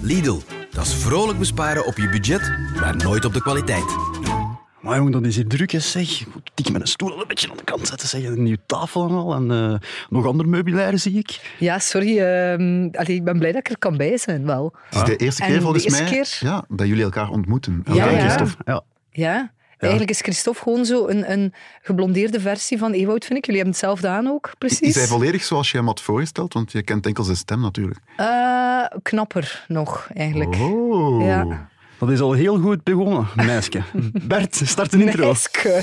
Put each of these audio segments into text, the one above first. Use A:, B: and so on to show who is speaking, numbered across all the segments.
A: Lidl, dat is vrolijk besparen op je budget, maar nooit op de kwaliteit.
B: Maar jong, dat is hier druk, hè, zeg. Ik moet dik mijn stoel al een beetje aan de kant zetten, zeg. Een nieuwe tafel en al. En eh, nog ander meubilair, zie ik.
C: Ja, sorry. ehm, allee, ik ben blij dat ik er kan bij zijn, wel.
D: Het is de eerste
C: Ah. En
D: keer volgens
C: de eerste
D: mij
C: keer?
D: Ja, dat jullie elkaar ontmoeten. Ah,
C: Ja,
B: Dank je,
C: ja.
B: Stof. ja.
C: Ja? Eigenlijk is Christophe gewoon zo een, een geblondeerde versie van Ewout, vind ik. Jullie hebben hetzelfde aan ook,
D: Is
C: precies.
D: hij volledig zoals je hem had voorgesteld? Want je kent enkel zijn stem natuurlijk.
C: Eh, knapper nog, eigenlijk.
D: Oh.
C: Ja.
B: Dat is al heel goed begonnen, meisje. Bert, start een
D: Oh.
B: intro.
C: Meisje.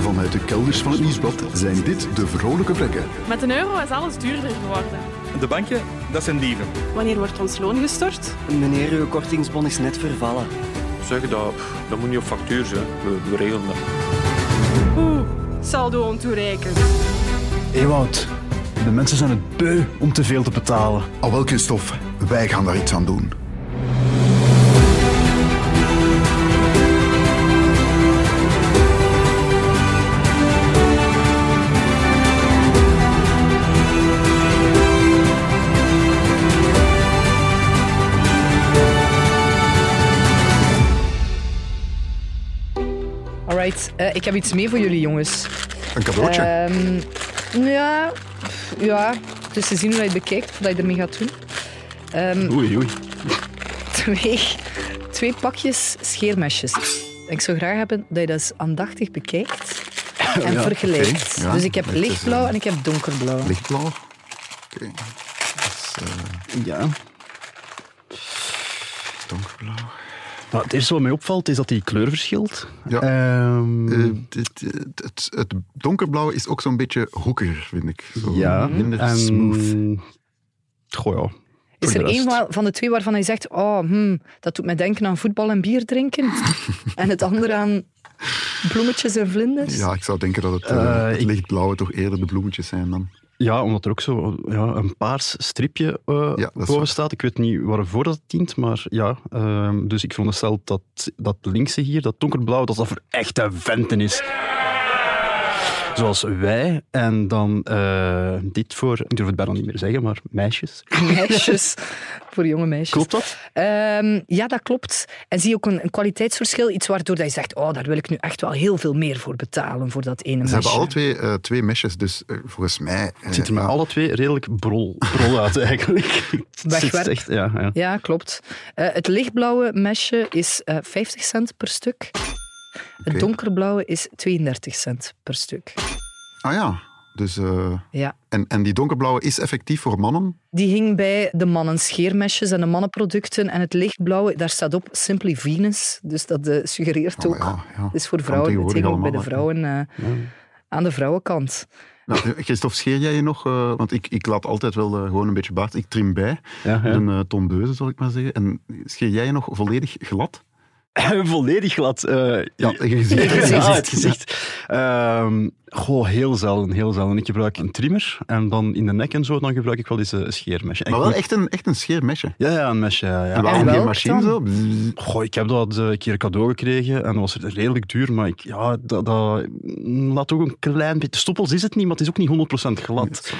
D: Vanuit de kelders van het nieuwsblad zijn dit de vrolijke plekken.
E: Met een euro is alles duurder geworden.
F: De bankje, dat zijn dieven.
E: Wanneer wordt ons loon gestort?
G: Meneer, uw kortingsbon is net vervallen.
H: Zeg dat, dat moet niet op factuur zijn. We, we regelen dat.
E: Oeh, saldo ontoereikend.
B: Ewout, de mensen zijn het beu om te veel te betalen.
D: Al welke stof, Ah, wij gaan daar iets aan doen.
C: Alright, eh, ik heb iets mee voor jullie, jongens.
D: Een cadeautje.
C: Ehm, ja, pff, ja, het is te zien hoe je het bekijkt, wat je ermee gaat doen. Ehm,
B: Mm. Oei, oei.
C: twee, twee pakjes scheermesjes. Ik zou graag hebben dat je dat eens aandachtig bekijkt en
B: Ja,
C: vergelijkt.
D: oké, ja.
C: dus ik heb
D: Het is,
C: lichtblauw
D: eh,
C: en ik heb donkerblauw.
D: Lichtblauw. Eh, Oké.
B: Ja.
D: Donkerblauw.
B: Maar Nou, het eerste wat mij opvalt is dat die kleur verschilt.
D: Ja.
B: Ehm,
D: Eh, dit- het, het, het donkerblauwe is ook zo'n beetje hoekiger, vind ik. Zo
B: ja.
D: Minder
B: en-
D: smooth.
B: Goh, ja.
C: Is
B: Voor
C: er
B: de
C: één
B: rest.
C: wa- van de twee waarvan hij zegt, oh, hmm, dat doet mij denken aan voetbal en bier drinken? en het andere aan bloemetjes en vlinders?
D: Ja, ik zou denken dat het, eh,
B: Eh,
D: het
B: ik-
D: lichtblauwe toch eerder de bloemetjes zijn dan.
B: Ja, omdat er ook zo ja, een paars stripje eh,
D: Ja, dat is waar.
B: boven staat. Ik weet niet waarvoor dat dient, maar ja. ehm, dus ik veronderstel dat dat linkse hier, dat donkerblauw, dat dat voor echte venten is. Zoals wij. En dan eh, dit voor, ik durf het bijna niet meer zeggen, maar meisjes.
C: Meisjes. Voor jonge meisjes.
B: Klopt dat?
C: Ehm, ja, dat klopt. En zie je ook een, een kwaliteitsverschil, iets waardoor dat je zegt, oh, daar wil ik nu echt wel heel veel meer voor betalen, voor dat ene mesje.
D: Ze hebben alle twee, eh, twee mesjes, dus eh, volgens mij... eh,
B: Het ziet er met
D: ja,
B: alle twee redelijk brol, brol uit eigenlijk. Het zit
C: Wegwerp.
B: echt, ja, ja.
C: Ja, klopt. Eh, het lichtblauwe mesje is eh 50 cent per stuk.
D: Oké.
C: Het donkerblauwe is 32 cent per stuk.
D: Ah ja, dus... eh,
C: Ja.
D: en, en die donkerblauwe is effectief voor mannen?
C: Die hing bij de mannen scheermesjes en de mannenproducten. En het lichtblauwe, daar staat op Simply Venus. Dus dat eh, suggereert
D: Ah,
C: ook.
D: maar ja, ja.
C: Het is voor vrouwen. Het
D: tegenwoordig
C: hing ook bij de
D: allemaal,
C: vrouwen eh, aan de vrouwenkant.
D: Nou, Christophe, scheer jij je nog? eh, want ik, ik laat altijd wel eh, gewoon een beetje baard. Ik trim bij.
B: Ja, ja.
D: Met een eh, tondeuze, zal ik maar zeggen. En scheer jij je nog volledig glad?
B: Volledig glad. eh,
D: Ja, je gezicht.
B: Ja,
C: gezicht.
B: het gezicht. Ehm, goh, heel zelden, heel zelden. Ik gebruik een trimmer en dan in de nek en zo, dan gebruik ik wel eens een scheermesje. En
D: Maar wel
B: goed-
D: echt een, echt een scheermesje.
B: Ja, ja, een mesje. Ja, ja.
D: En waarom die
C: welk
D: machine
C: dan?
D: zo? Bzzz.
B: Goh, ik heb dat eh, een keer cadeau gekregen en dat was redelijk duur, maar ik, ja, dat, dat mm, laat ook een klein beetje... Stoppels is het niet, maar het is ook niet 100% glad.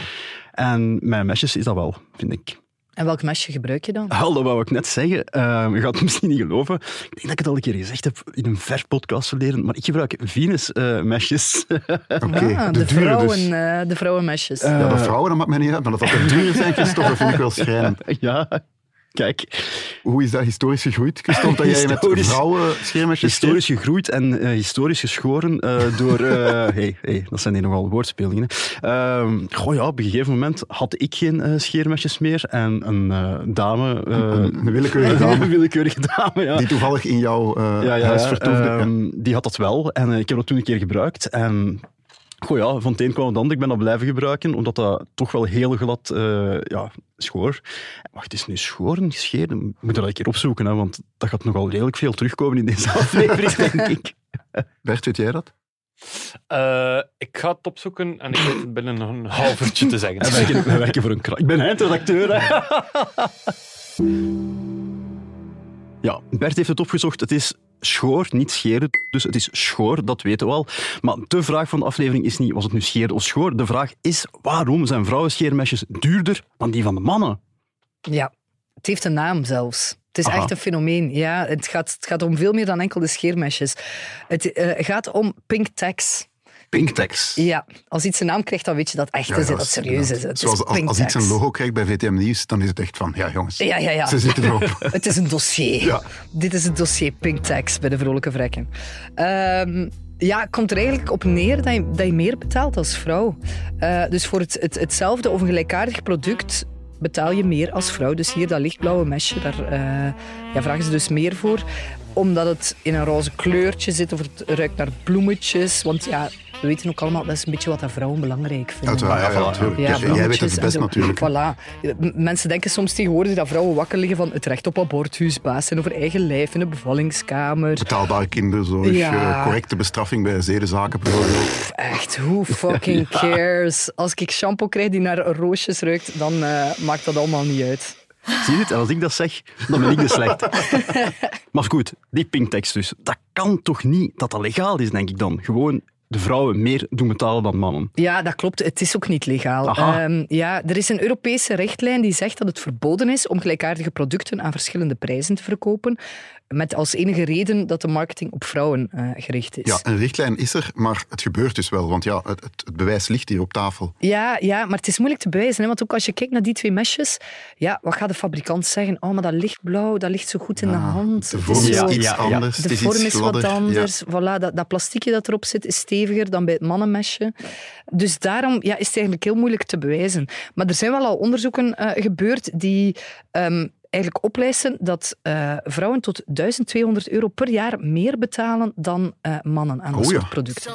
B: En mijn mesjes is dat wel, vind ik.
C: En welk mesje gebruik je dan?
D: Ah,
B: Wel, dat wou ik net zeggen. Ehm, je gaat het misschien niet geloven. Ik denk dat ik het al een keer gezegd heb in een ver podcast verleden, maar ik gebruik eh, Venus-mesjes.
D: Oké,
C: Ah,
D: de,
C: de,
D: dure
C: vrouwen,
D: dus.
C: eh, de vrouwenmesjes.
D: Ja, de vrouwen, dat maakt mij niet uit. Maar dat dat de dure zijn, Christophe, dat vind ik wel schrijnend.
B: ja, kijk.
D: Hoe is dat historisch gegroeid, Christophe, dat jij met
B: Historisch-
D: vrouwen scheermesjes scheert?
B: Historisch gegroeid en eh, historisch geschoren eh, door... eh hey, hey, dat zijn hier nogal woordspelingen. hè. Ehm, goh ja, op een gegeven moment had ik geen eh, scheermesjes meer en een eh, dame... eh,
D: Een willekeurige dame
B: Een willekeurige dame, ja.
D: die toevallig in jouw eh,
B: ja, ja,
D: huis
B: ja,
D: vertoefde. Ja.
B: ehm, Die had dat wel en eh, ik heb dat toen een keer gebruikt. En goh ja, van het een kwam het ander. Ik ben dat blijven gebruiken, omdat dat toch wel heel glad eh, ja, schoor. Wacht, is nu schoren, gescheiden? Moet ik dat een keer opzoeken, hè, want dat gaat nogal redelijk veel terugkomen in deze aflevering, denk ik.
D: Bert, weet jij dat?
H: Eh, ik ga het opzoeken en ik weet het binnen een half uurtje te zeggen.
B: En wij werken, wij werken voor een krant. Ik ben eindredacteur, hè. Ja, Bert heeft het opgezocht. Het is schoor, niet scheren. Dus het is schoor, dat weten we al. Maar de vraag van de aflevering is niet, was het nu scheren of schoor? De vraag is, waarom zijn vrouwenscheermesjes duurder dan die van de mannen?
C: ja, Het heeft een naam zelfs. Het is
D: Aha.
C: echt een fenomeen. Ja, het, gaat, het gaat om veel meer dan enkel de scheermesjes. Het eh, gaat om pink tax.
D: Pinktex.
C: Ja, als iets een naam krijgt, dan weet je dat het echt
D: Ja,
C: is,
D: ja,
C: dat het serieus
D: inderdaad.
C: is. Het
D: Zoals
C: is
D: als,
C: pink
D: als iets
C: tax.
D: een logo krijgt bij VTM Nieuws, dan is het echt van, ja jongens,
C: Ja, ja, ja.
D: ze zitten erop.
C: Het is een dossier.
D: Ja.
C: Dit is het dossier Pink Tax bij de Vrolijke Vrekken. Ehm, ja, het komt er eigenlijk op neer dat je, dat je meer betaalt als vrouw. Eh, dus voor het, het, hetzelfde of een gelijkaardig product betaal je meer als vrouw. Dus hier dat lichtblauwe mesje, daar eh, ja, vragen ze dus meer voor. Omdat het in een roze kleurtje zit of het ruikt naar bloemetjes. Want ja, we weten ook allemaal, dat is een beetje wat dat vrouwen belangrijk vinden.
D: Uiteraard, ja, ja,
B: voilà.
D: natuurlijk. Ja, Dus, eh, jij weet
C: bloemetjes
D: het het
C: en
D: best
C: zo.
D: natuurlijk.
C: Voilà. Eh, M- Mensen denken soms tegenwoordig dat vrouwen wakker liggen van het recht op abortus, baas zijn over eigen lijf in een bevallingskamer.
D: Betaalbare kinderzorg,
C: Ja.
D: eh, correcte bestraffing bij zedenzaken bijvoorbeeld.
C: Echt, who fucking cares? Als ik shampoo krijg die naar roosjes ruikt, dan eh, maakt dat allemaal niet uit.
B: Zie je het? En als ik dat zeg, dan ben ik de slecht. maar goed, die pinktekst dus. Dat kan toch niet dat dat legaal is, denk ik dan? Gewoon de vrouwen meer doen betalen dan mannen.
C: Ja, dat klopt. Het is ook niet legaal.
B: Aha.
C: Ehm, ja, er is een Europese richtlijn die zegt dat het verboden is om gelijkaardige producten aan verschillende prijzen te verkopen. Met als enige reden dat de marketing op vrouwen eh, gericht is.
D: Ja, een richtlijn is er, maar het gebeurt dus wel. Want ja, het, het, het bewijs ligt hier op tafel.
C: Ja, ja, maar het is moeilijk te bewijzen. Hè? Want ook als je kijkt naar die twee mesjes, ja, wat gaat de fabrikant zeggen? Oh, maar dat lichtblauw, dat ligt zo goed in de hand.
D: Ah, De
C: Het
D: vorm
C: is
D: is
C: zo-
D: iets
B: ja, ja.
D: anders. het
C: de vorm
D: iets
C: is wat
D: gladder, ja.
C: anders. Voilà, dat, dat plastiekje dat erop zit is steviger dan bij het mannenmesje. Dus daarom ja, is het eigenlijk heel moeilijk te bewijzen. Maar er zijn wel al onderzoeken eh, gebeurd die ehm, eigenlijk oplijsten dat eh, vrouwen tot 1200 euro per jaar meer betalen dan eh, mannen aan dat
D: Oh ja.
C: soort producten.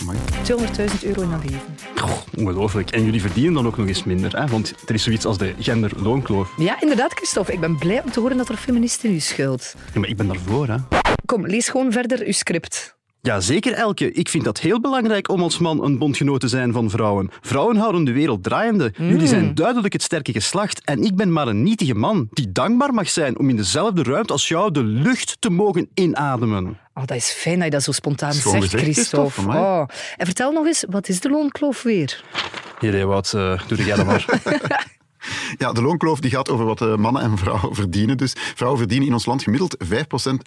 D: Amai.
C: 200.000 euro in dat leven.
B: Goh, ongelooflijk. En jullie verdienen dan ook nog eens minder, hè? want er is zoiets als de genderloonkloof.
C: Ja, inderdaad, Christophe. Ik ben blij om te horen dat er feministen u schuilt.
B: Ja, maar ik ben daarvoor, hè.
C: Kom, lees gewoon verder uw script.
B: Ja, zeker Elke. Ik vind dat heel belangrijk om als man een bondgenoot te zijn van vrouwen. Vrouwen houden de wereld draaiende. Jullie zijn duidelijk het sterke geslacht en ik ben maar een nietige man die dankbaar mag zijn om in dezelfde ruimte als jou de lucht te mogen inademen.
C: Oh, dat is fijn dat je dat zo spontaan
D: Schoon
C: zegt,
D: gezegd,
C: Christophe.
D: Christophe, amai.
C: Oh. En vertel nog eens, wat is de loonkloof weer?
B: Hier, hè, Wout, eh, doe jij dat maar.
D: Ja, de loonkloof die gaat over wat eh, mannen en vrouwen verdienen. Dus vrouwen verdienen in ons land gemiddeld 5%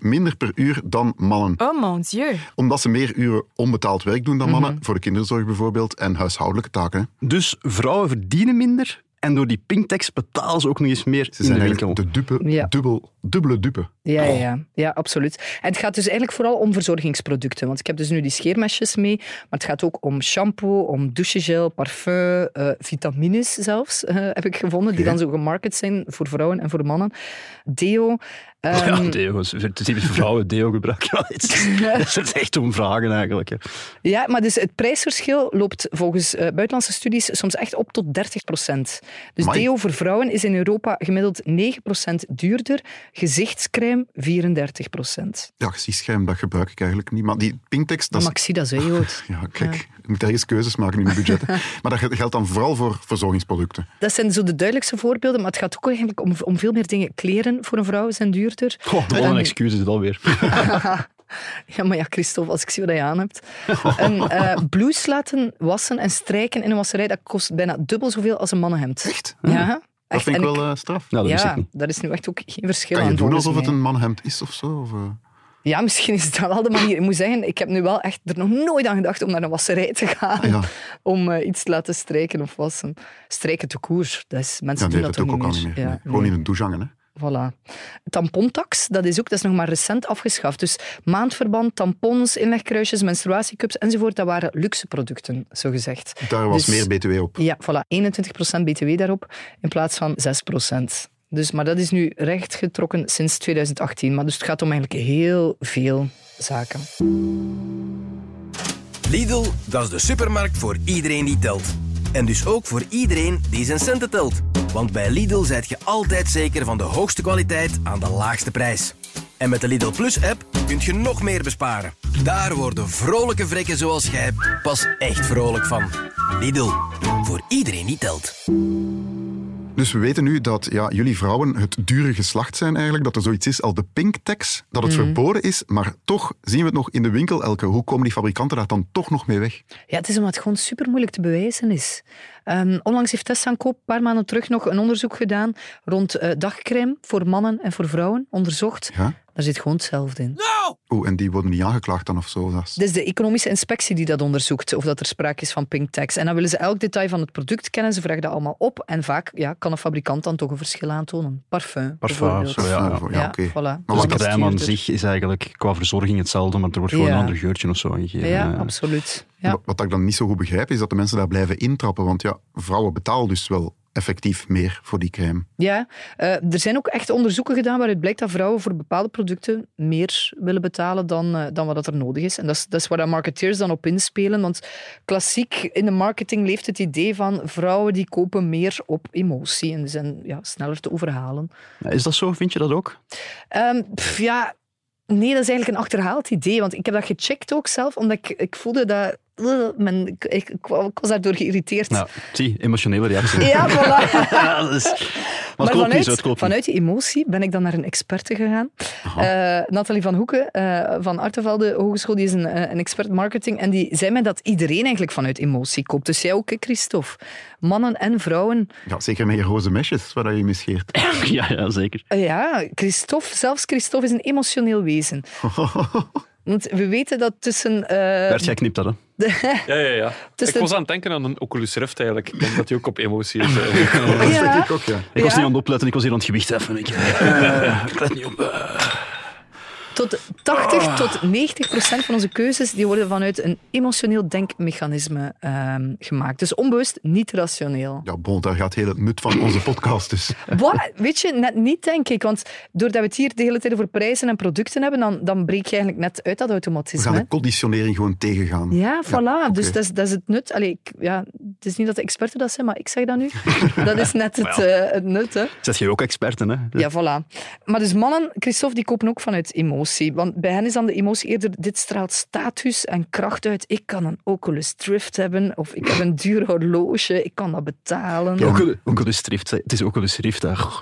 D: minder per uur dan mannen.
E: Oh mon dieu.
D: Omdat ze meer uren onbetaald werk doen dan mannen, voor de kinderzorg bijvoorbeeld, en huishoudelijke taken. hè.
B: dus vrouwen verdienen minder en door die pinktekst betalen ze ook nog eens meer
D: Ze
B: in de
D: zijn eigenlijk
B: winkel.
D: de dupe,
C: Ja.
D: dubbel, dubbele dupe.
C: Ja, ja, ja. ja, absoluut. En het gaat dus eigenlijk vooral om verzorgingsproducten. Want ik heb dus nu die scheermesjes mee. Maar het gaat ook om shampoo, om douchegel, parfum, eh, vitamines zelfs, eh, heb ik gevonden. Die
D: Oké.
C: dan zo gemarket zijn voor vrouwen en voor mannen. Deo. ehm,
B: Ja, deo. is- Het is typisch voor vrouwen deo gebruiken. Ja, het is- Dat is echt om vragen eigenlijk. hè.
C: Ja, maar dus het prijsverschil loopt volgens eh, buitenlandse studies soms echt op tot 30 procent. Dus
D: Amai.
C: deo voor vrouwen is in Europa gemiddeld 9 duurder, gezichtscrème 34 procent.
D: Ja, gezichtsscherm, dat gebruik ik eigenlijk niet. Maar die pinktekst, dat is...
C: Maxida Zeehout.
D: Ja, kijk, je moet ergens keuzes maken in je budget. hè. maar dat gel- geldt dan vooral voor verzorgingsproducten.
C: Dat zijn zo de duidelijkste voorbeelden, maar het gaat ook eigenlijk om, om veel meer dingen. Kleren voor een vrouw zijn duurder.
B: Goh,
D: Oh,
B: wat
C: Dan-
B: een excuus is het alweer.
C: Ja, maar ja, Christophe, als ik zie wat je aan hebt. Een eh, blouse laten wassen en strijken in een wasserij, dat kost bijna dubbel zoveel als een mannenhemd. Echt? Ja.
D: Dat
C: echt.
D: vind ik
C: En
D: wel eh, straf.
B: Nou, dat wist ik
C: ja,
B: niet.
C: daar is nu echt ook geen verschil
D: Kan je
C: aan.
D: doen
C: volgens
D: alsof het
C: mij.
D: een manhemd is of zo? Of, eh?
C: Ja, misschien is dat wel de manier. Ik moet zeggen, ik heb nu wel echt er nog nooit aan gedacht om naar een wasserij te gaan.
D: Ah, ja.
C: Om eh, iets te laten strijken of wassen. Strijken te koers. Dat is,
D: Ja,
C: mensen
D: nee,
C: doen
D: dat
C: dat
D: doe ik
C: toch
D: ook al niet meer. nee. Gewoon in een douche hangen, hè.
C: Voilà. Tampontax, dat is ook, dat is nog maar recent afgeschaft. Dus maandverband, tampons, inlegkruisjes, menstruatiecups enzovoort, dat waren luxe producten, zogezegd.
D: Daar was
C: Dus-
D: meer btw op.
C: Ja, voilà, 21% btw daarop in plaats van 6%. Dus, maar dat is nu rechtgetrokken sinds 2018. Maar dus het gaat om eigenlijk heel veel zaken.
A: Lidl, dat is de supermarkt voor iedereen die telt. En dus ook voor iedereen die zijn centen telt. Want bij Lidl zijt je altijd zeker van de hoogste kwaliteit aan de laagste prijs. En met de Lidl Plus-app kunt je nog meer besparen. Daar worden vrolijke vrekken zoals jij pas echt vrolijk van. Lidl, voor iedereen die telt.
D: Dus we weten nu dat ja, jullie vrouwen het dure geslacht zijn eigenlijk, dat er zoiets is als de pinktax, dat
C: Mhm.
D: het verboden is, maar toch zien we het nog in de winkel elke. Hoe komen die fabrikanten daar dan toch nog mee weg?
C: Ja, het is omdat het gewoon super moeilijk te bewijzen is. Eh, Ehm, onlangs heeft Tess Sankoop een paar maanden terug nog een onderzoek gedaan rond eh, dagcrème voor mannen en voor vrouwen, onderzocht.
D: Ja?
C: Daar zit gewoon hetzelfde in.
D: Oeh, en die worden niet aangeklaagd dan of zo. Dat is-
C: Het is de economische inspectie die dat onderzoekt, of dat er sprake is van pink tax. En dan willen ze elk detail van het product kennen, ze vragen dat allemaal op. En vaak ja, kan een fabrikant dan toch een verschil aantonen. Parfum,
B: Parfum,
C: bijvoorbeeld.
B: zo, ja.
D: Ja, oké.
C: voilà. Dus
D: wat
B: Dus de
D: dat
C: dat is
B: crème aan
C: duurder.
B: zich is eigenlijk qua verzorging hetzelfde, maar er wordt gewoon
C: Ja.
B: een ander geurtje of zo
C: Ja,
B: ingegeven.
C: absoluut. Ja.
D: Wat- Wat ik dan niet zo goed begrijp, is dat de mensen daar blijven intrappen. Want ja, vrouwen betalen dus wel effectief meer voor die crème.
C: Ja, eh, er zijn ook echt onderzoeken gedaan waaruit blijkt dat vrouwen voor bepaalde producten meer willen betalen dan, eh, dan wat dat er nodig is. En dat is, dat is waar dat marketeers dan op inspelen. Want klassiek in de marketing leeft het idee van vrouwen die kopen meer op emotie en die zijn ja, sneller te overhalen.
B: Ja, Is dat zo? Vind je dat ook?
C: Ehm, pff, ja, nee, dat is eigenlijk een achterhaald idee. Want ik heb dat gecheckt ook zelf, omdat ik, ik voelde dat... eh, mijn- ik, ik, ik was daardoor geïrriteerd.
B: Nou, zie, emotionele reactie.
C: Ja, voilà.
B: Ja, dat is- Maar, het klopt
C: vanuit,
B: niet zo, het klopt niet.
C: vanuit die emotie ben ik dan naar een experte gegaan. Eh Nathalie van Hoeken eh, van Artevelde Hogeschool, die is een, eh, een expert marketing. En die zei mij dat iedereen eigenlijk vanuit emotie koopt. Dus jij ook, hè, Christophe. Mannen en vrouwen.
D: Ja, zeker met je roze mesjes, waar dat je mee scheert.
B: Ja, ja, zeker.
C: Eh, ja, Christophe, zelfs Christophe is een emotioneel wezen. Want we weten dat tussen... eh,
B: Bert, jij knipt dat, hè?
H: Ja, ja, ja.
C: Dus
H: ik
C: dat-
H: was aan het denken aan een Oculus Rift eigenlijk. Ik denk dat die ook op emotie is. eh.
C: ja.
D: Ik ook, ja.
B: Ik was
C: Ja?
B: niet aan het opletten, ik was hier aan het gewicht heffen. Ik, eh, ik let niet op. eh.
C: Tot 80
D: Ah.
C: tot 90 procent van onze keuzes die worden vanuit een emotioneel denkmechanisme ehm, gemaakt. Dus onbewust, niet rationeel.
D: Ja, bon, daar gaat heel het nut van onze podcast dus.
C: Wat? Weet je, net niet, denk ik. Want doordat we het hier de hele tijd over prijzen en producten hebben, dan, dan breek je eigenlijk net uit dat
D: We
C: automatisme.
D: gaan
C: hè.
D: de conditionering gewoon tegengaan.
C: Ja, voilà. Dus
D: oké.
C: dat is, dat is het nut. Allee, ik, ja, het is niet dat de experten dat zijn, maar ik zeg dat nu. Dat is net het, eh, het nut, hè.
B: Zet jij ook experten, hè?
C: Ja, voilà. Maar dus mannen, Christophe, die kopen ook vanuit emotie. Want bij hen is dan de emotie eerder, dit straalt status en kracht uit. Ik kan een Oculus Drift hebben, of ik heb een duur horloge, ik kan dat betalen.
B: Ja, Oculus- Oculus Rift, hè. het is Oculus Rift. hè. Goh,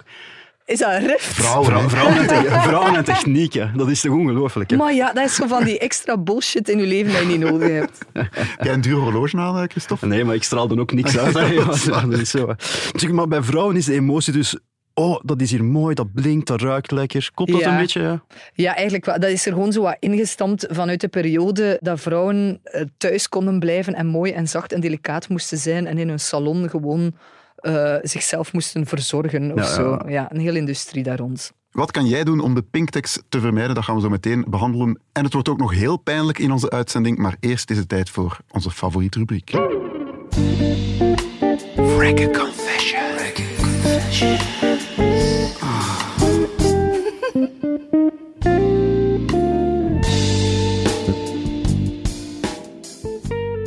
C: Is dat een rift?
D: Vrouwen,
B: Vrouwen,
D: hè.
B: vrouwen, en, te- vrouwen en techniek, hè. dat is toch ongelooflijk? hè?
C: Maar ja, dat is zo van die extra bullshit in je leven dat je niet nodig hebt.
D: Heb jij een duur horloge aan, eh, Christophe?
B: Nee, maar ik straal dan ook niks uit. hè. Ja, dat is zo. hè. Zeg, maar bij vrouwen is de emotie dus... Oh, dat is hier mooi, dat blinkt, dat ruikt lekker. Klopt dat
C: Ja.
B: een beetje? Ja?
C: Ja, eigenlijk wel. Dat is er gewoon zo wat ingestampt vanuit de periode dat vrouwen eh, thuis konden blijven en mooi en zacht en delicaat moesten zijn en in hun salon gewoon eh, zichzelf moesten verzorgen of
B: Ja, ja.
C: zo. Ja, een hele industrie daar rond.
D: Wat kan jij doen om de pinktex te vermijden? Dat gaan we zo meteen behandelen. En het wordt ook nog heel pijnlijk in onze uitzending. Maar eerst is het tijd voor onze favoriete rubriek.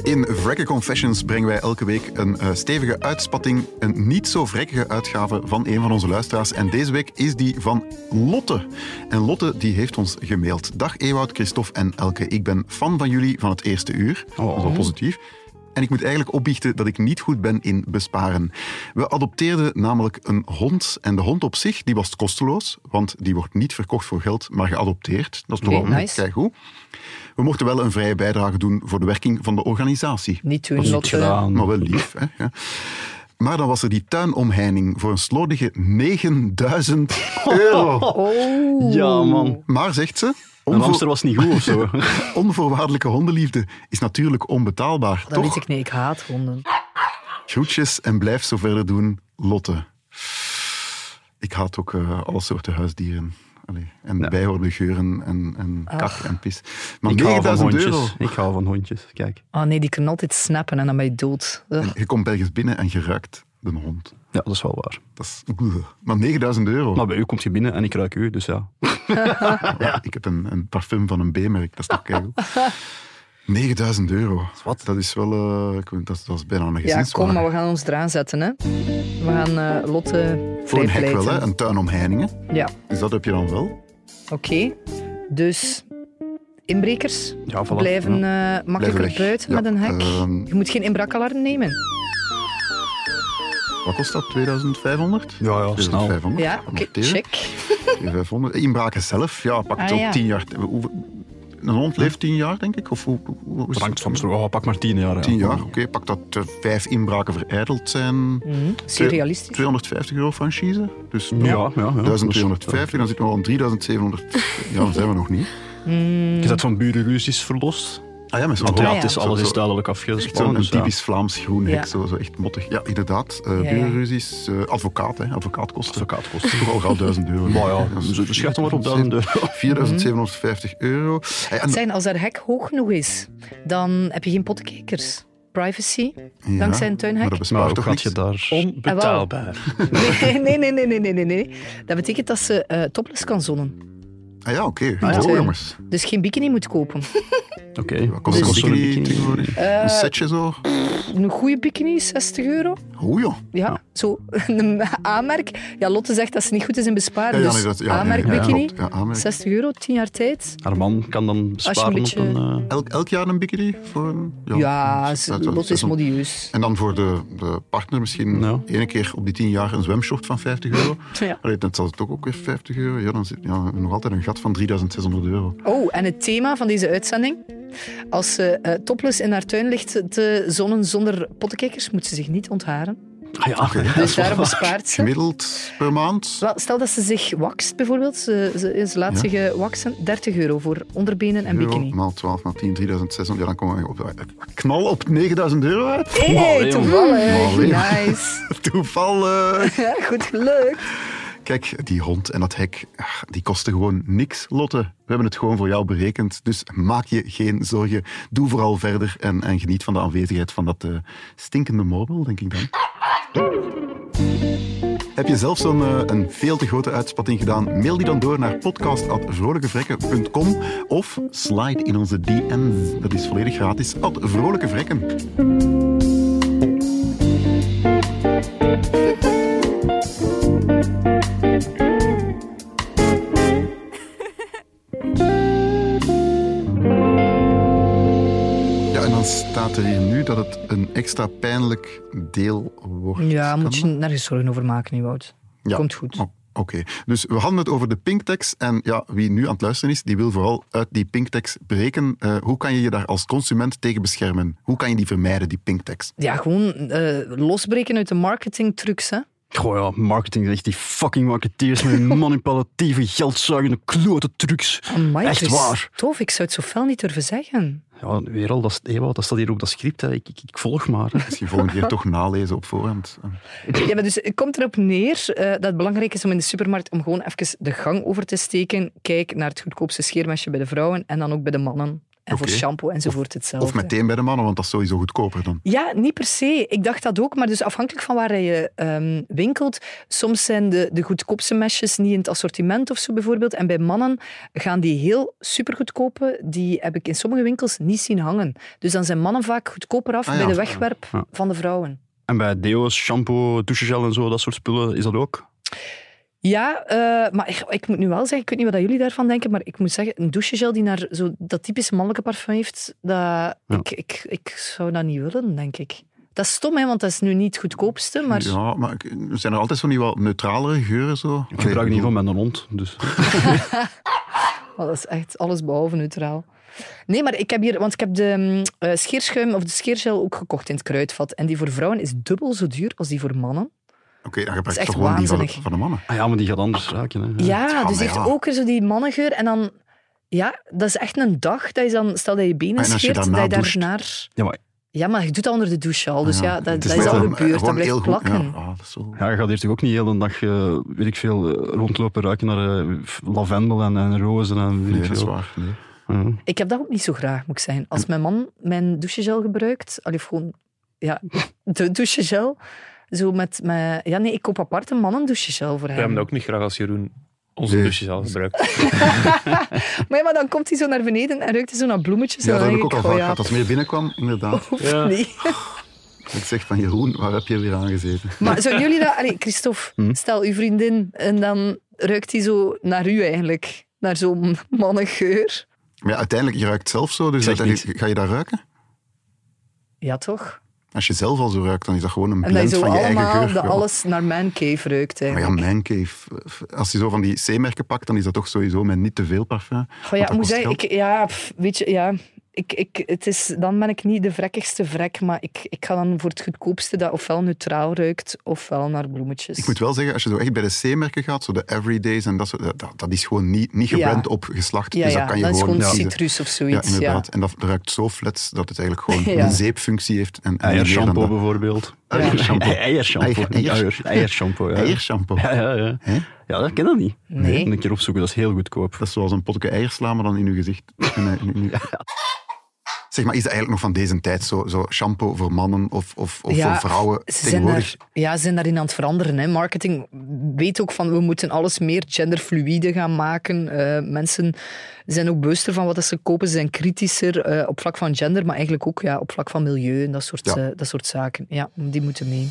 D: In Vrekke Confessions brengen wij elke week een eh, stevige uitspatting, een niet zo vrekkige uitgave van een van onze luisteraars. En deze week is die van Lotte. En Lotte die heeft ons gemaild. Dag Ewout, Christophe en Elke. Ik ben fan van jullie van het eerste uur. Dat
C: Oh.
D: is wel positief. En ik moet eigenlijk opbiechten dat ik niet goed ben in besparen. We adopteerden namelijk een hond. En de hond op zich die was kosteloos, want die wordt niet verkocht voor geld, maar geadopteerd. Dat is toch
C: Oké,
D: wel
C: nice.
D: kijk goed. We mochten wel een vrije bijdrage doen voor de werking van de organisatie.
C: Niet
D: Dat
C: doen,
D: is
B: Niet
C: Lotte.
B: gedaan.
D: Maar wel lief, hè? Ja. Maar dan was er die tuinomheining voor een slordige 9000 euro.
C: Oh.
B: Ja, man.
D: Maar, zegt ze,
B: Een
D: onvoor-
B: hamster was niet goed of zo.
D: onvoorwaardelijke hondenliefde is natuurlijk onbetaalbaar,
C: Dat
D: toch?
C: weet ik niet, ik haat honden.
D: Groetjes en blijf zo verder doen, Lotte. Ik haat ook eh, alle soorten huisdieren. Allee, en de bijhorende geuren en, en kak en pis. Maar
B: Ik hou van
D: 9000 euro.
B: hondjes. Ik hou van hondjes, kijk.
C: Oh nee, die kunnen altijd snappen en dan ben je dood. Ugh.
D: Je komt ergens binnen en je ruikt de hond.
B: Ja, dat is wel waar.
D: Dat is... Maar 9000 euro.
B: Maar bij u komt je binnen en ik ruik u, dus ja.
D: Ja, ik heb een, een parfum van een B-merk, dat is toch keigoed. 9000 euro. Wat? Dat is wel... eh, ik weet- dat, is- dat is bijna een
C: Ja,
D: gezinswaarde.
C: kom, maar we gaan ons eraan zetten, hè. We gaan eh, Lotte
D: Voor een hek wel, hè?
C: vrijpleiten.
D: Een tuin om heiningen.
C: Ja,
D: Dus dat heb je dan wel.
C: oké. Dus inbrekers
D: Ah,
B: Ja, voilà.
C: blijven eh, makkelijker
D: weg.
C: buiten
D: Ja,
C: met een hek.
D: ehm.
C: Je moet geen inbraakalarm nemen.
D: Wat kost dat? 2500?
B: Ja, ja, snel.
D: 2500.
C: Ja, oké,
D: Noteren.
C: check.
D: 2500. Inbraken zelf, ja, pak het
C: Ah,
D: op
C: ja.
D: 10 jaar. Hoeveel- een hond leeft tien jaar, denk ik? Of hoe, hoe, hoe is
B: Het
D: het?
B: hangt soms nog, oh, pak maar tien jaar. ja.
D: Tien jaar, oké. pak dat eh, vijf inbraken verijdeld zijn.
C: Serialistisch.
D: 250 euro franchise. Dus
B: Ja, ja, ja, ja.
D: 1250, dan zitten we al aan 3700. Ja, dan zijn we nog niet.
B: Je zet van burenruzies verlost.
D: Ah ja, met zo'n
B: Want
C: Ah,
B: ja,
C: ja.
B: het is, alles
D: Zo-
B: is duidelijk
D: Echt zo'n
B: afgespannen.
D: een
B: dus ja.
D: typisch Vlaams groen hek,
C: Ja.
D: zo, zo echt mottig. Oh, Ja, inderdaad. eh
C: Ja, ja.
D: Burenruzies, eh, advocaat, hè, advocaatkosten.
B: Advocaatkosten.
D: Toch al gauw 1000 euro. dus
B: Maar ja, we schuiven maar op 1000 euro.
D: 4750 euro. Hey, en-
C: Zijn, als haar hek hoog genoeg is, dan heb je geen pottekijkers. Privacy,
D: ja,
C: dankzij een
D: Maar
C: tuinhek.
D: dat bespaart
B: Maar hoe
D: toch
B: gaat
D: niks?
B: je daar...
H: Onbetaalbaar.
C: Nee, nee, nee, nee, nee, nee, nee, nee. Dat betekent dat ze eh, topless kan zonnen.
D: Ah ja, oké.
C: ja.
D: Oh,
C: Tuin.
D: jongens.
C: Dus geen bikini moet kopen.
B: Oké.
D: Wat kost
B: Dus-
D: een bikini tegenwoordig?
C: Eh,
D: Een setje zo?
C: Een goede bikini, 60 euro.
D: Hoe joh?
C: Ja, zo. Een aanmerk. Ja, Lotte zegt dat ze niet goed is in besparen.
D: Ja, ja,
C: dus
D: nee, dat- ja,
C: aanmerk
D: ja, ja,
C: bikini,
D: klopt. Ja, aanmerk.
C: 60 euro, 10 jaar tijd.
B: Haar man kan dan sparen
C: beetje-
B: op een... eh,
D: Elk, elk jaar een bikini? Voor een,
C: Ja, ze-
D: dat- dat-
C: Lotte is
D: dat-
C: modieus.
D: En dan voor de, de partner misschien
B: Ja.
D: ene keer op die tien jaar een zwemshort van 50 euro.
C: Ja.
D: Allee, dat zal toch ook weer 50 euro. Ja, dan zit ja, nog altijd een gat van 3600 euro.
C: Oh, en het thema van deze uitzending. Als ze eh, topless in haar tuin ligt te zonnen zonder pottenkijkers, moet ze zich niet ontharen.
B: Ah ja, ja, dat
C: Dus
B: is wel
C: daarom
B: waar.
C: bespaart ze.
D: Gemiddeld per maand.
C: Wel, stel dat ze zich wakst bijvoorbeeld, ze, ze, ze laat
D: Ja.
C: zich eh, waksen, 30 euro voor onderbenen en
D: Euro,
C: bikini.
D: maal 12, maal 10, 3600. Ja, dan komen we op eh, knal op 9000 euro uit.
C: Hé,
B: Allee, jongen.
C: toevallig.
D: Allee.
C: Nice.
D: Toevallig.
C: Ja, goed gelukt.
D: Kijk, die hond en dat hek, ah, die kosten gewoon niks, Lotte. We hebben het gewoon voor jou berekend. Dus maak je geen zorgen. Doe vooral verder en, en geniet van de aanwezigheid van dat eh, stinkende mormel, denk ik dan. Heb je zelf zo'n eh, een veel te grote uitspatting gedaan? Mail die dan door naar podcast.vrolijkevrekken.com of slide in onze DM's. Dat is volledig gratis. At Vrolijke Vrekken. Ja, en dan staat er hier nu dat het een extra pijnlijk deel wordt.
C: Ja,
D: Kan
C: moet je nergens zorgen over maken nu, Wout.
D: Ja.
C: Komt goed.
D: Oh, Oké, dus we hadden het over de Pinktex. En ja, wie nu aan het luisteren is, die wil vooral uit die Pinktex breken. Eh, hoe kan je je daar als consument tegen beschermen? Hoe kan je die vermijden, die Pinktex?
C: Ja, gewoon eh, losbreken uit de marketingtrucs, hè.
B: Goh ja, marketing is echt die fucking marketeers met hun manipulatieve, geldzuigende, klote trucs.
C: Amai,
B: Echt
C: het is
B: waar.
C: Tof, ik zou het zo fel niet durven zeggen.
B: Ja, weer al, dat, is- Ewout, dat staat hier op dat script. Hè. Ik, ik, ik volg maar. hè.
D: Misschien volgende keer toch nalezen op voorhand. Eh,
C: Ja, maar dus het komt erop neer eh, dat het belangrijk is om in de supermarkt om gewoon even de gang over te steken. Kijk naar het goedkoopste scheermesje bij de vrouwen en dan ook bij de mannen. En voor
D: Oké.
C: shampoo enzovoort hetzelfde.
D: Of meteen bij de mannen, want dat is sowieso goedkoper dan.
C: Ja, niet per se. Ik dacht dat ook, maar dus afhankelijk van waar je ehm, winkelt. Soms zijn de, de goedkoopste mesjes niet in het assortiment of zo bijvoorbeeld. En bij mannen gaan die heel supergoedkope, die heb ik in sommige winkels niet zien hangen. Dus dan zijn mannen vaak goedkoper af
D: Ah,
C: bij
D: ja.
C: de wegwerp
B: Ja.
C: van de vrouwen.
B: En bij deo's, shampoo, douchegel en zo, dat soort spullen, is dat ook?
C: Ja, eh, maar ik, ik moet nu wel zeggen, ik weet niet wat jullie daarvan denken, maar ik moet zeggen, een douchegel die naar zo dat typische mannelijke parfum heeft, dat, ik, ik, ik zou dat niet willen, denk ik. Dat is stom, hè, want dat is nu niet het goedkoopste, maar...
D: Ja, maar ik- zijn er altijd zo niet wat neutralere geuren? Zo?
B: Ik gebruik niet van mijn hond, dus...
C: Maar dat is echt alles behalve neutraal. Nee, maar ik heb hier, want ik heb de mm, eh, scheerschuim of de scheergel ook gekocht in het kruidvat. En die voor vrouwen is dubbel zo duur als die voor mannen.
D: Oké, dan
C: Dat
D: gebruik je
C: is
D: toch
C: echt
D: gewoon die van de,
C: waanzinnig.
D: van de mannen.
B: Ah ja, maar die gaat anders ruiken. Hè.
C: Ja, dus
D: Eh, maar
C: die heeft
D: ja.
C: ook weer zo die mannengeur. En dan, ja, dat is echt een dag dat je dan, stel dat je benen
D: Maar en als je
C: scheert,
D: daarna
C: dat je
D: doucht?
C: daarnaar.
B: Ja, maar
C: Ja, maar je doet dat onder de douche al. Dus ja, dat,
D: Het
C: dat is
D: wel
C: al
D: een-
C: gebeurd. Dat
D: gewoon
C: blijft
D: heel goed-
C: plakken.
D: Ja, ah, dat is zo.
B: ja, je gaat hier toch ook niet de hele dag, eh, weet ik veel, eh, rondlopen ruiken naar eh, f- lavendel en, en rozen en weet
D: Nee,
B: ik
D: dat is
B: veel.
D: waar. Nee.
B: Ja.
C: Ik heb dat ook niet zo graag, moet ik zeggen. Als mijn man mijn douchegel gebruikt, allee, of gewoon ja, de douchegel, zo met, met... Ja, nee, ik koop apart een mannen douchegel voor
H: We
C: hem.
H: hebben dat ook niet graag als Jeroen onze
D: Nee.
H: douche zelf gebruikt.
C: Maar ja, maar dan komt hij zo naar beneden en ruikt hij zo naar bloemetjes.
D: Ja,
C: en
D: dat
C: dan
D: heb ik
C: denk oh
D: ook al vaak
C: ja,
D: gehad. Als het meer binnenkwam, inderdaad.
C: hoeft
H: Ja.
C: niet.
D: Ik zeg van Jeroen, waar heb je weer aangezeten?
C: Maar zouden jullie dat... Allee, Christophe,
D: Hmm?
C: stel uw vriendin en dan ruikt hij zo naar u eigenlijk. Naar zo'n mannengeur.
D: Maar ja, uiteindelijk, je ruikt zelf zo, dus
B: Zeg
D: dat-
B: niet.
D: ga je daar ruiken?
C: Ja, toch?
D: Als je zelf al zo ruikt, dan is dat gewoon een
C: En dat je
D: blend
C: zo
D: van je eigen
C: allemaal,
D: geur.
C: dat
D: ja.
C: alles naar mijn cave ruikt
D: Maar ja,
C: eigenlijk.
D: Mancave. Als je zo van die C-merken pakt, dan is dat toch sowieso met niet te veel parfum.
C: Goh, ja,
D: Want
C: ik
D: dat
C: moet
D: kost
C: zeggen,
D: geld.
C: ik, ja, pff, weet je, ja. Ik, ik, het is, dan ben ik niet de vrekkigste vrek, maar ik, ik ga dan voor het goedkoopste dat ofwel neutraal ruikt, ofwel naar bloemetjes.
D: Ik moet wel zeggen, als je zo echt bij de C-merken gaat, zo de everydays en dat soort, dat- dat, dat is gewoon niet, niet gebrand op geslacht.
C: ja,
D: dus
C: ja,
D: dat kan je
C: is
D: gewoon
C: gewoon
D: kiezen.
C: citrus of
D: Ja,
C: zoiets. Ja,
D: inderdaad. En dat ruikt zo flats dat het eigenlijk gewoon
C: Ja.
D: een zeepfunctie heeft. En, en niet meer dan
B: Eiershampoo
D: dat.
B: bijvoorbeeld.
D: Eiershampoo.
B: Ei- Eiershampoo.
D: Eier-
B: niet
D: eiers-
B: uier. Eiershampoo. ja.
D: Eiershampoo.
B: Ja, ja, ja.
D: Hè?
B: Ja, dat ken dat niet.
C: Nee.
B: Een keer opzoeken, dat is heel goedkoop.
D: Dat is zoals een potje eiersla, maar dan in uw gezicht. Nee, nee, nee. Zeg maar, is dat eigenlijk nog van deze tijd zo, zo shampoo voor mannen of, of, of
C: Ja,
D: voor vrouwen
C: Ze zijn,
D: tegenwoordig?
C: daar, ja, ze zijn daarin aan het veranderen. Hè. Marketing weet ook van we moeten alles meer genderfluïde gaan maken. Eh, mensen zijn ook bewuster van wat dat ze kopen. Ze zijn kritischer eh, op vlak van gender, maar eigenlijk ook ja, op vlak van milieu en dat soort,
D: Ja.
C: eh, dat soort zaken. Ja, die moeten mee.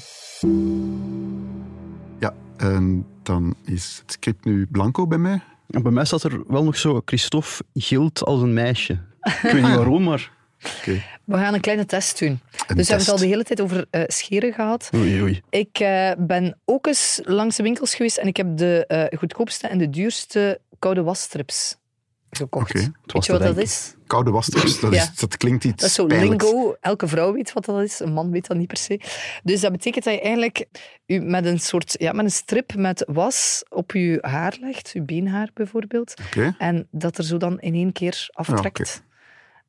D: Ja, en dan is het script nu blanco bij mij.
B: En bij mij staat er wel nog zo, Christophe gilt als een meisje. Ik weet niet waarom, maar...
C: We gaan een kleine test doen.
D: Een
C: Ah, dus we hebben het
D: test.
C: al de hele tijd over eh, scheren gehad.
B: Oei, oei.
C: Ik eh, ben ook eens langs de winkels geweest en ik heb de eh, goedkoopste en de duurste koude wasstrips gekocht.
D: Oké, het
C: Weet
B: was
C: je wat
B: te
C: dat
B: denken.
C: is?
D: Koude wasstrips, dat,
C: Ja.
D: is- dat klinkt iets
C: Dat is zo
D: pijnlijks.
C: lingo. Elke vrouw weet wat dat is. Een man weet dat niet per se. Dus dat betekent dat je eigenlijk u met een soort ja, met een strip met was op je haar legt, je beenhaar bijvoorbeeld,
D: Oké.
C: en dat er zo dan in één keer aftrekt.
B: Ah,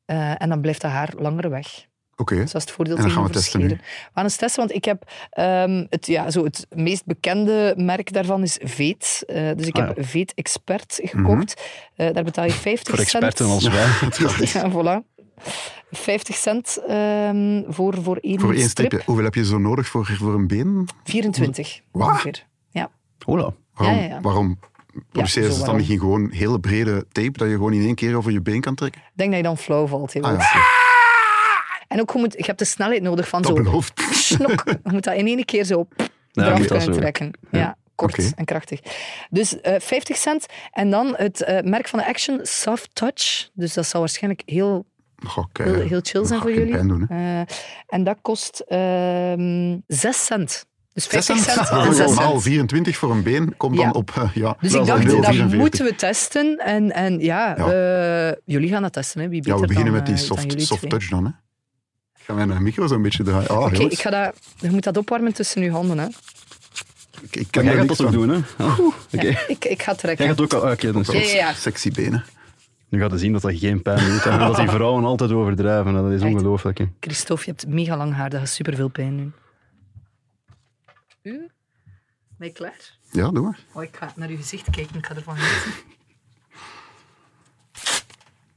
C: Eh, en dan blijft dat haar langer weg.
D: Oké,
C: Dus dat is het voordeel
D: En dan gaan we
C: tegenover
D: testen nu.
C: scheren. We gaan eens testen, want ik heb ehm, het, ja, zo het meest bekende merk daarvan is Veet. Eh, dus ik
B: Ah,
C: heb
B: ja.
C: Veet Expert
D: Mhm.
C: gekocht. Eh, daar betaal je 50
B: Voor experten
C: cent.
B: als wij.
C: Ja, voilà. 50 cent ehm, voor, voor één,
D: voor één
C: strip.
D: stripje. Hoeveel heb je zo nodig voor, voor een been?
C: 24
D: Waar?
C: ongeveer. Ja.
B: Hola.
D: Waarom,
C: Ja, ja, ja.
D: waarom produceren
C: zo
D: ze het dan
C: waarom.
D: niet in gewoon hele brede tape dat je gewoon in één keer over je been kan trekken?
C: Ik denk dat je dan flauw valt. heel
D: Ah ja,
C: hard.
D: oké.
C: En ook, je, moet, je hebt de snelheid nodig van
D: dat
C: zo...
D: belooft.
C: Snok. Je moet dat in één keer zo
B: Ja,
C: eraf
B: moet dat
C: kunnen
B: zo.
C: trekken. Ja. Kort
D: Oké.
C: en krachtig. Dus eh, 50 cent. En dan het eh, merk van de Action, Soft Touch. Dus dat zal waarschijnlijk heel,
D: Goh, kei.
C: heel, heel chill
D: dat
C: zijn
D: gaat
C: voor
D: geen
C: jullie.
D: pijn doen,
C: Eh, en dat kost ehm 6 cent. Dus
D: 6
C: 50 cent
D: Waarom
C: en 6
D: Oh, normaal
C: cent.
D: 24 voor een been komt
C: Ja.
D: dan op eh, ja,
C: Dus
D: wel
C: ik dacht, dat
D: 0,44.
C: moeten we testen. En, en ja,
D: Ja.
C: eh, jullie gaan dat testen. Hè. Wie beter
D: Ja, we beginnen
C: dan,
D: met die
C: eh, dan
D: soft,
C: jullie
D: soft
C: twee.
D: touch dan. Hè. Ik ga mijn eh, micro zo'n beetje draaien. Ah,
C: Oké,
D: jongens,
C: ik ga dat... Je moet dat opwarmen tussen uw handen. Hè.
D: ik, ik
B: Maar jij
D: ken daar
B: gaat
D: niks
B: dat ook
D: van.
B: doen, hè? Ah, Oké.
C: Ik, ik ga trekken.
B: Jij gaat ook al... ah, Oké, dan is het
C: Ja,
B: goed.
C: ja, ja.
D: Sexy benen.
B: Nu gaat je zien dat dat geen pijn doet. En dat die vrouwen altijd overdrijven. hè. Dat is
C: Echt?
B: ongelooflijk. hè.
C: Christophe, je hebt mega lang haar. Dat gaat superveel pijn doen. U? Ben je klaar?
D: Ja, doe maar.
C: Oh, ik ga naar uw gezicht kijken. Ik ga ervan genieten.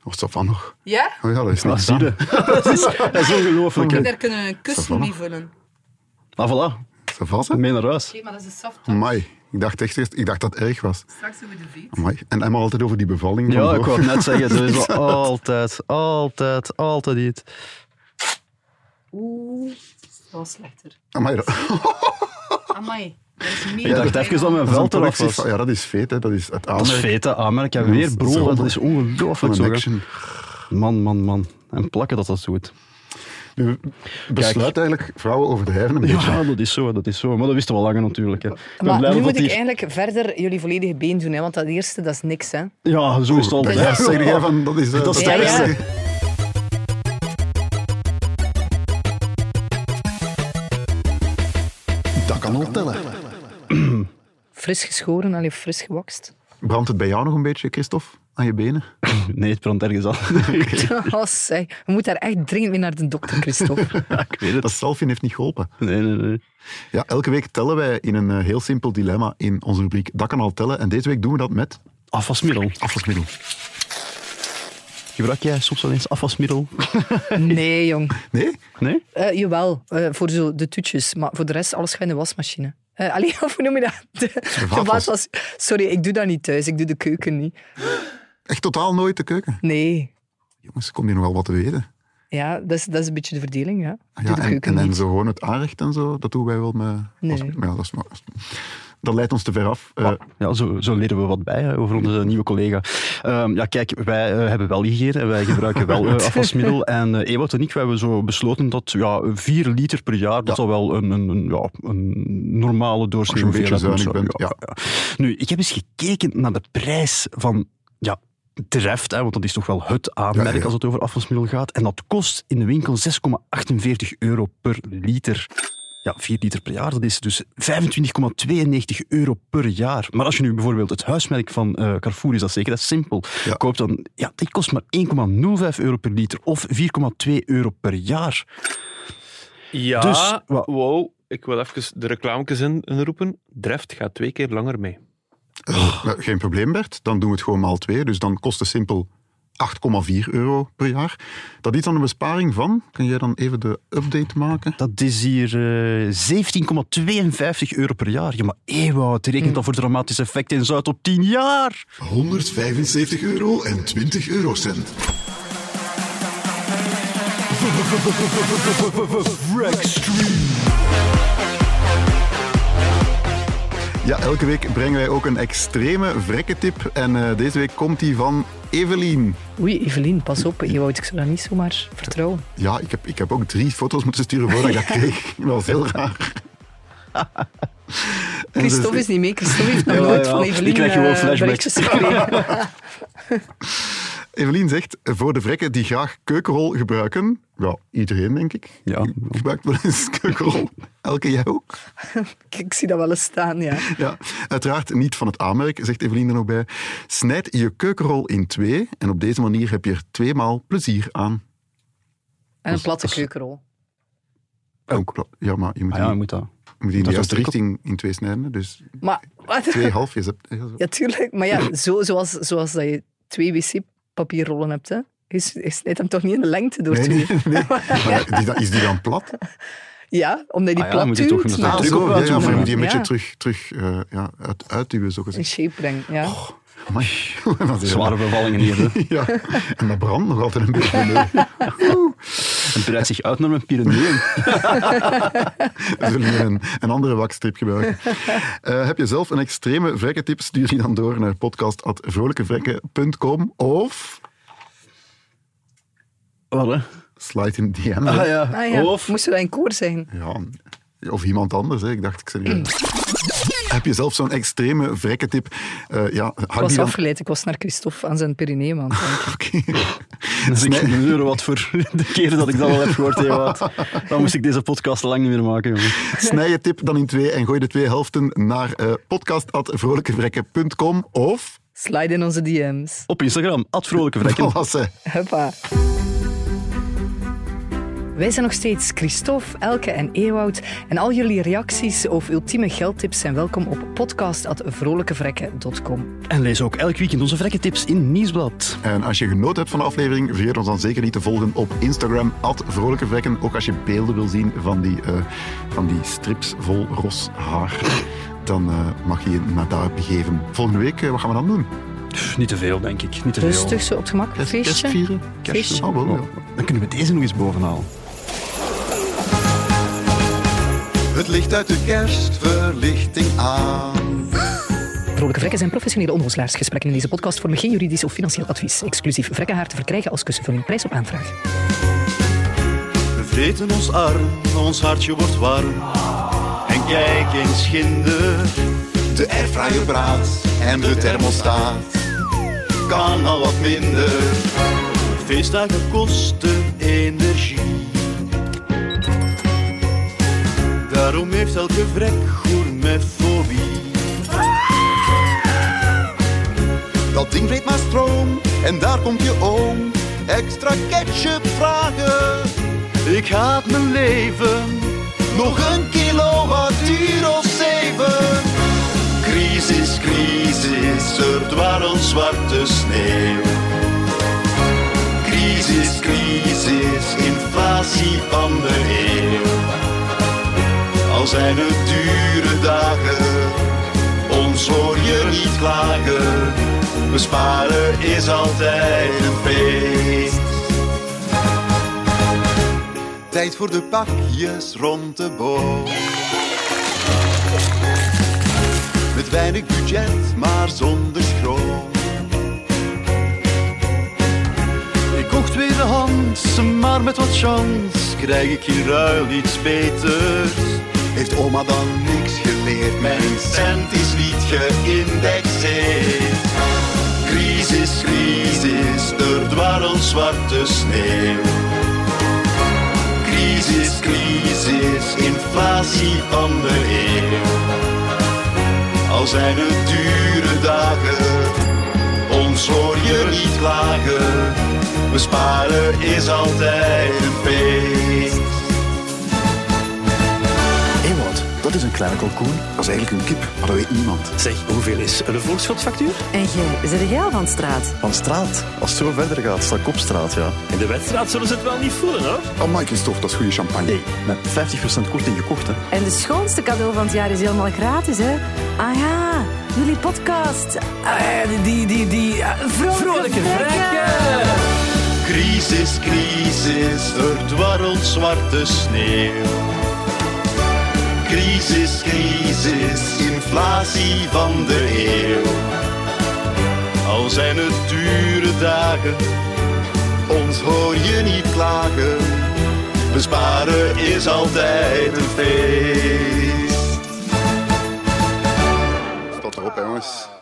D: Of dat van nog?
C: Ja?
D: Oh ja, dat is
B: Ah,
D: niks
B: zie
D: aan.
B: je? Dat is, dat is ongelooflijk. hè.
C: Daar kunnen we een kussen mee vullen.
B: Ah, voilà.
D: Dat was het.
B: Mee naar huis.
C: Oké, maar dat is een
B: Hm.
C: soft
D: Amai. Ik dacht echt eerst, ik dacht dat het erg was.
C: Straks doen we de veet.
D: Amai. En Emma altijd over die bevalling. van
B: Ja, ik
D: boven.
B: wou het net zeggen. Dat is wel altijd, altijd, altijd iets.
C: Oeh, dat was slechter.
D: Amai, dat,
C: Amai. Dat is meer
B: Ik dacht
C: dan
B: even dat mijn
C: bijna.
D: dat is een
B: vel eraf
D: productie
B: was.
D: van- Ja, dat is vet, hè. Dat is het
B: Dat is Ah,
D: aanmerk
B: feta aanmerk. Ja,
D: Ja,
B: weer
D: dat is
B: brol. Dat is
D: zonde.
B: ongelooflijk
D: van
B: zo.
D: een
B: hè.
D: action.
B: Man, man, man. En plakken dat dat zo goed.
D: Nu besluit eigenlijk vrouwen overdrijven een beetje.
B: Ja, dat is zo, dat is zo. Maar dat wisten we al langer natuurlijk. Hè. Ik ben blij
C: Maar nu
B: dat
C: moet
B: dat
C: ik
B: hier-
C: eigenlijk verder jullie volledige been doen, hè, want dat eerste dat is niks. Hè.
B: Ja, zo is het altijd.
D: Oh, Dat zeg jij van, dat is... eh,
B: Dat is
C: het
D: ergste.
B: ergste.
D: Dat kan al tellen.
C: Fris geschoren, allee, fris gewakst.
D: Brandt het bij jou nog een beetje, Christophe? Aan je benen?
B: Nee, het brandt ergens aan.
C: Oh, zei, we moeten daar echt dringend mee naar de dokter, Christophe.
B: ik weet het.
D: Dat selfie heeft niet geholpen.
B: Nee, nee, nee.
D: Ja, elke week tellen wij in een eh, heel simpel dilemma in onze rubriek Dat kan al tellen. En deze week doen we dat met
B: Afwasmiddel.
D: afwasmiddel.
B: Gebruik jij soms wel eens afwasmiddel?
C: Nee, jong.
D: Nee?
B: Nee?
C: Eh, jawel, eh, voor zo de toetjes, maar voor de rest alles gaat in de wasmachine. Eh allee, of hoe noem je dat? De, de
D: vaatwas.
C: was, sorry, ik doe dat niet thuis, ik doe de keuken niet.
D: Echt totaal nooit de keuken.
C: Nee,
D: Jongens, komt hier nog wel wat te weten.
C: ja, dat is, dat is een beetje de verdeling, ja. Ik doe
D: Ja,
C: de
D: en,
C: keuken
D: en, en
C: niet.
D: zo gewoon het aanrecht en zo, dat doen wij wel met...
C: Nee.
D: als- maar ja, dat is, maar- dat leidt ons te ver af. Eh,
B: Ja, zo, zo leren we wat bij hè, over onze nieuwe collega. Ehm, ja, kijk, wij eh, hebben wel gegeten en wij gebruiken wel eh, afwasmiddel. En eh, Ewout en ik wij hebben zo besloten dat ja, 4 liter per jaar, dat zal wel een, een, een, ja, een normale
D: als
B: doorsnee
D: je een beetje
B: hoeveelheid
D: zuinig
B: moeten
D: bent.
B: zijn.
D: Ja.
B: Ja. Nu, ik heb eens gekeken naar de prijs van ja, Treft, hè, want dat is toch wel het aanmerk
D: Ja, ja.
B: als het over afwasmiddel gaat. En dat kost in de winkel 6,48 euro per liter. Ja, 4 liter per jaar, dat is dus 25,92 euro per jaar. Maar als je nu bijvoorbeeld het huismerk van eh, Carrefour is, dat zeker, dat is simpel.
D: Ja.
B: Koopt dan, ja, die kost maar 1,05 euro per liter of 4,2 euro per jaar.
H: Ja,
B: Dus, wa-
H: wow. Ik wil even de reclametjes in- inroepen. Dreft gaat twee keer langer mee.
D: Nou, geen probleem, Bert. Dan doen we het gewoon maal twee. Dus dan kost het simpel 8,4 euro per jaar. Dat is dan een besparing van... Kun jij dan even de update maken?
B: Dat is hier eh, 17,52 euro per jaar. Ja, maar Ewout, rekent dat voor dramatische effecten in Zuid op 10 jaar.
I: 175 euro en 20 eurocent.
D: Ja, elke week brengen wij ook een extreme vrekketip. En eh, deze week komt die van Evelien.
C: Oei, Evelien, pas op. Je wou ik zou dat niet zomaar vertrouwen.
D: Ja, ik heb, ik heb ook drie foto's moeten sturen voordat ik dat kreeg. Dat was heel raar. En ze-
C: Christophe is niet mee. Christophe heeft nog
B: Ja,
C: nooit
B: ja.
C: van
B: Die
C: Evelien
B: krijgt gewoon
C: eh,
B: flashbacks.
C: berichtjes gekregen.
D: Evelien zegt, voor de vrekken die graag keukenrol gebruiken... Ja, iedereen, denk ik.
B: Ja.
D: Gebruikt wel eens keukenrol. Elke jij ook?
C: Ik zie dat wel eens staan, ja.
D: Ja, uiteraard niet van het aanmerk, zegt Evelien er nog bij. Snijd je keukenrol in twee en op deze manier heb je er tweemaal plezier aan.
C: En een platte keukenrol.
D: Ook. Ja, maar je moet,
B: Ah ja,
D: die-
B: moet dat.
D: je moet die in de
B: dat is
D: juiste
B: ook druk
D: richting in twee snijden. Dus
C: Maar, wat?
D: twee halfjes. hebt- ja, zo.
C: Ja, tuurlijk. Maar ja, zo, zoals, zoals dat je twee wc-papierrollen hebt, hè. Je s- je snijdt hem toch niet in de lengte door
D: Nee,
C: twee?
D: nee, nee. Maar is die- is die dan plat?
C: Ja, omdat die
B: Ah ja, dan
C: plat
B: moet je toch
C: duwt,
B: een
C: maar
D: Ah,
B: druk
D: zo,
B: op
D: ja, ja,
B: uitvoeren.
D: maar je moet die een beetje
C: Ja.
D: terug, terug eh, ja, uit, uitduwen, zo
C: in
D: gezegd.
C: shape brengt. Ja.
D: Amai, dat is
B: Zware bevallingen hier. hè.
D: Ja, en dat brandt nog altijd een beetje. Nee.
B: Het breidt zich uit naar een Pyreneeën.
D: We zullen hier een, een andere wakstrip gebruiken. Eh, heb je zelf een extreme vrekkentip, stuur die dan door naar podcast.vrolijkevrekken.com of
B: Wat, hè?
D: slide in DM.
B: Ah ja.
C: Ah ja,
B: Of...
C: moesten we dat in koor zijn?
D: Ja, of iemand anders, hè. ik dacht, ik serieus.
B: Mm.
D: Heb je zelf zo'n extreme vrekkentip? Eh ja,
C: Ik
D: hang die
C: was
D: dan...
C: afgeleid, ik was naar Christophe aan zijn Pyreneeën.
D: Oké.
B: Dan zeg ik
D: Snij-
B: een euro wat voor de keren dat ik dat al heb gehoord, Ewout. Dan moest ik deze podcast lang niet meer maken, jongen.
D: Snij je tip dan in twee en gooi de twee helften naar eh podcast.vrolijkevrekken.com of...
C: Slide in onze DM's.
B: Op Instagram, vrolijke vrekken.
D: Wassen.
C: Huppa. Wij zijn nog steeds Christophe, Elke en Ewout. En al jullie reacties of ultieme geldtips zijn welkom op podcast.vrolijkevrekken.com.
B: En lees ook elk weekend onze vrekkentips in Nieuwsblad.
D: En als je genoten hebt van de aflevering, vergeet ons dan zeker niet te volgen op Instagram, vrolijkevrekken. Ook als je beelden wil zien van die, eh, van die strips vol ros haar, dan eh, mag je je naar daar begeven. Volgende week, eh, wat gaan we dan doen?
B: Pff, niet te veel, denk ik. Niet te veel.
C: Rustig, Dus zo op het gemak.
D: Kerst-
C: Feestje.
D: Kerstvieren? Kerst,
C: Feestje.
D: oh, wel, ja.
B: Dan kunnen we deze nog eens bovenhalen.
I: Het licht uit de kerstverlichting aan.
C: Vrolijke Vrekken zijn professionele onderzoeksgesprekken in deze podcast vormen geen juridisch of financieel advies. Exclusief Vrekkenhaar te verkrijgen als kussen voor een prijs op aanvraag.
I: We vreten ons arm, ons hartje wordt warm. En kijk eens ginder. De airfryer braadt en de thermostaat kan al wat minder. Feestdagen kosten energie. Daarom heeft elke vrek gourmetfobie. Dat ding vreet maar stroom en daar komt je oom. Extra ketchup vragen. Ik haat mijn leven. Nog een kilowattuur of zeven. Crisis, crisis, er dwarrelt zwarte sneeuw. Crisis, crisis, inflatie van de eeuw. Al zijn het dure dagen, ons hoor je niet klagen. Besparen is altijd een feest. Tijd voor de pakjes rond de boom. Weinig budget, maar zonder schroom. Ik kocht tweedehands, maar met wat chance krijg ik in ruil iets beters. Heeft oma dan niks geleerd? Mijn cent is niet geïndexeerd. Crisis, crisis, er dwarrelt zwarte sneeuw. Crisis, crisis, inflatie van de eeuw. Al zijn het dure dagen, ons hoor je niet klagen. Besparen is altijd een feest.
D: Ewout, dat is een kleine kalkoen. Dat is eigenlijk een kip, maar dat weet niemand.
J: Zeg, hoeveel is een volksgoedfactuur?
K: En jij, zit jij al van straat?
J: Van straat.
D: Als het zo verder gaat, sta ik op straat, ja.
J: In de wedstrijd zullen ze het wel niet voelen, hoor.
D: Amai, Christophe, dat Oh, is goede champagne.
B: Hey,
D: met 50% korting gekocht, hè.
K: En de schoonste cadeau van het jaar is helemaal gratis, hè? Ah ja, jullie podcast.
J: Eh, die, die, die, die eh, vrolijke,
I: Crisis, crisis, er dwarrelt zwarte sneeuw. Crisis, crisis, inflatie van de eeuw. Al zijn het dure dagen, ons hoor je niet klagen. Besparen is altijd een feest.
D: Staat erop, hè, jongens.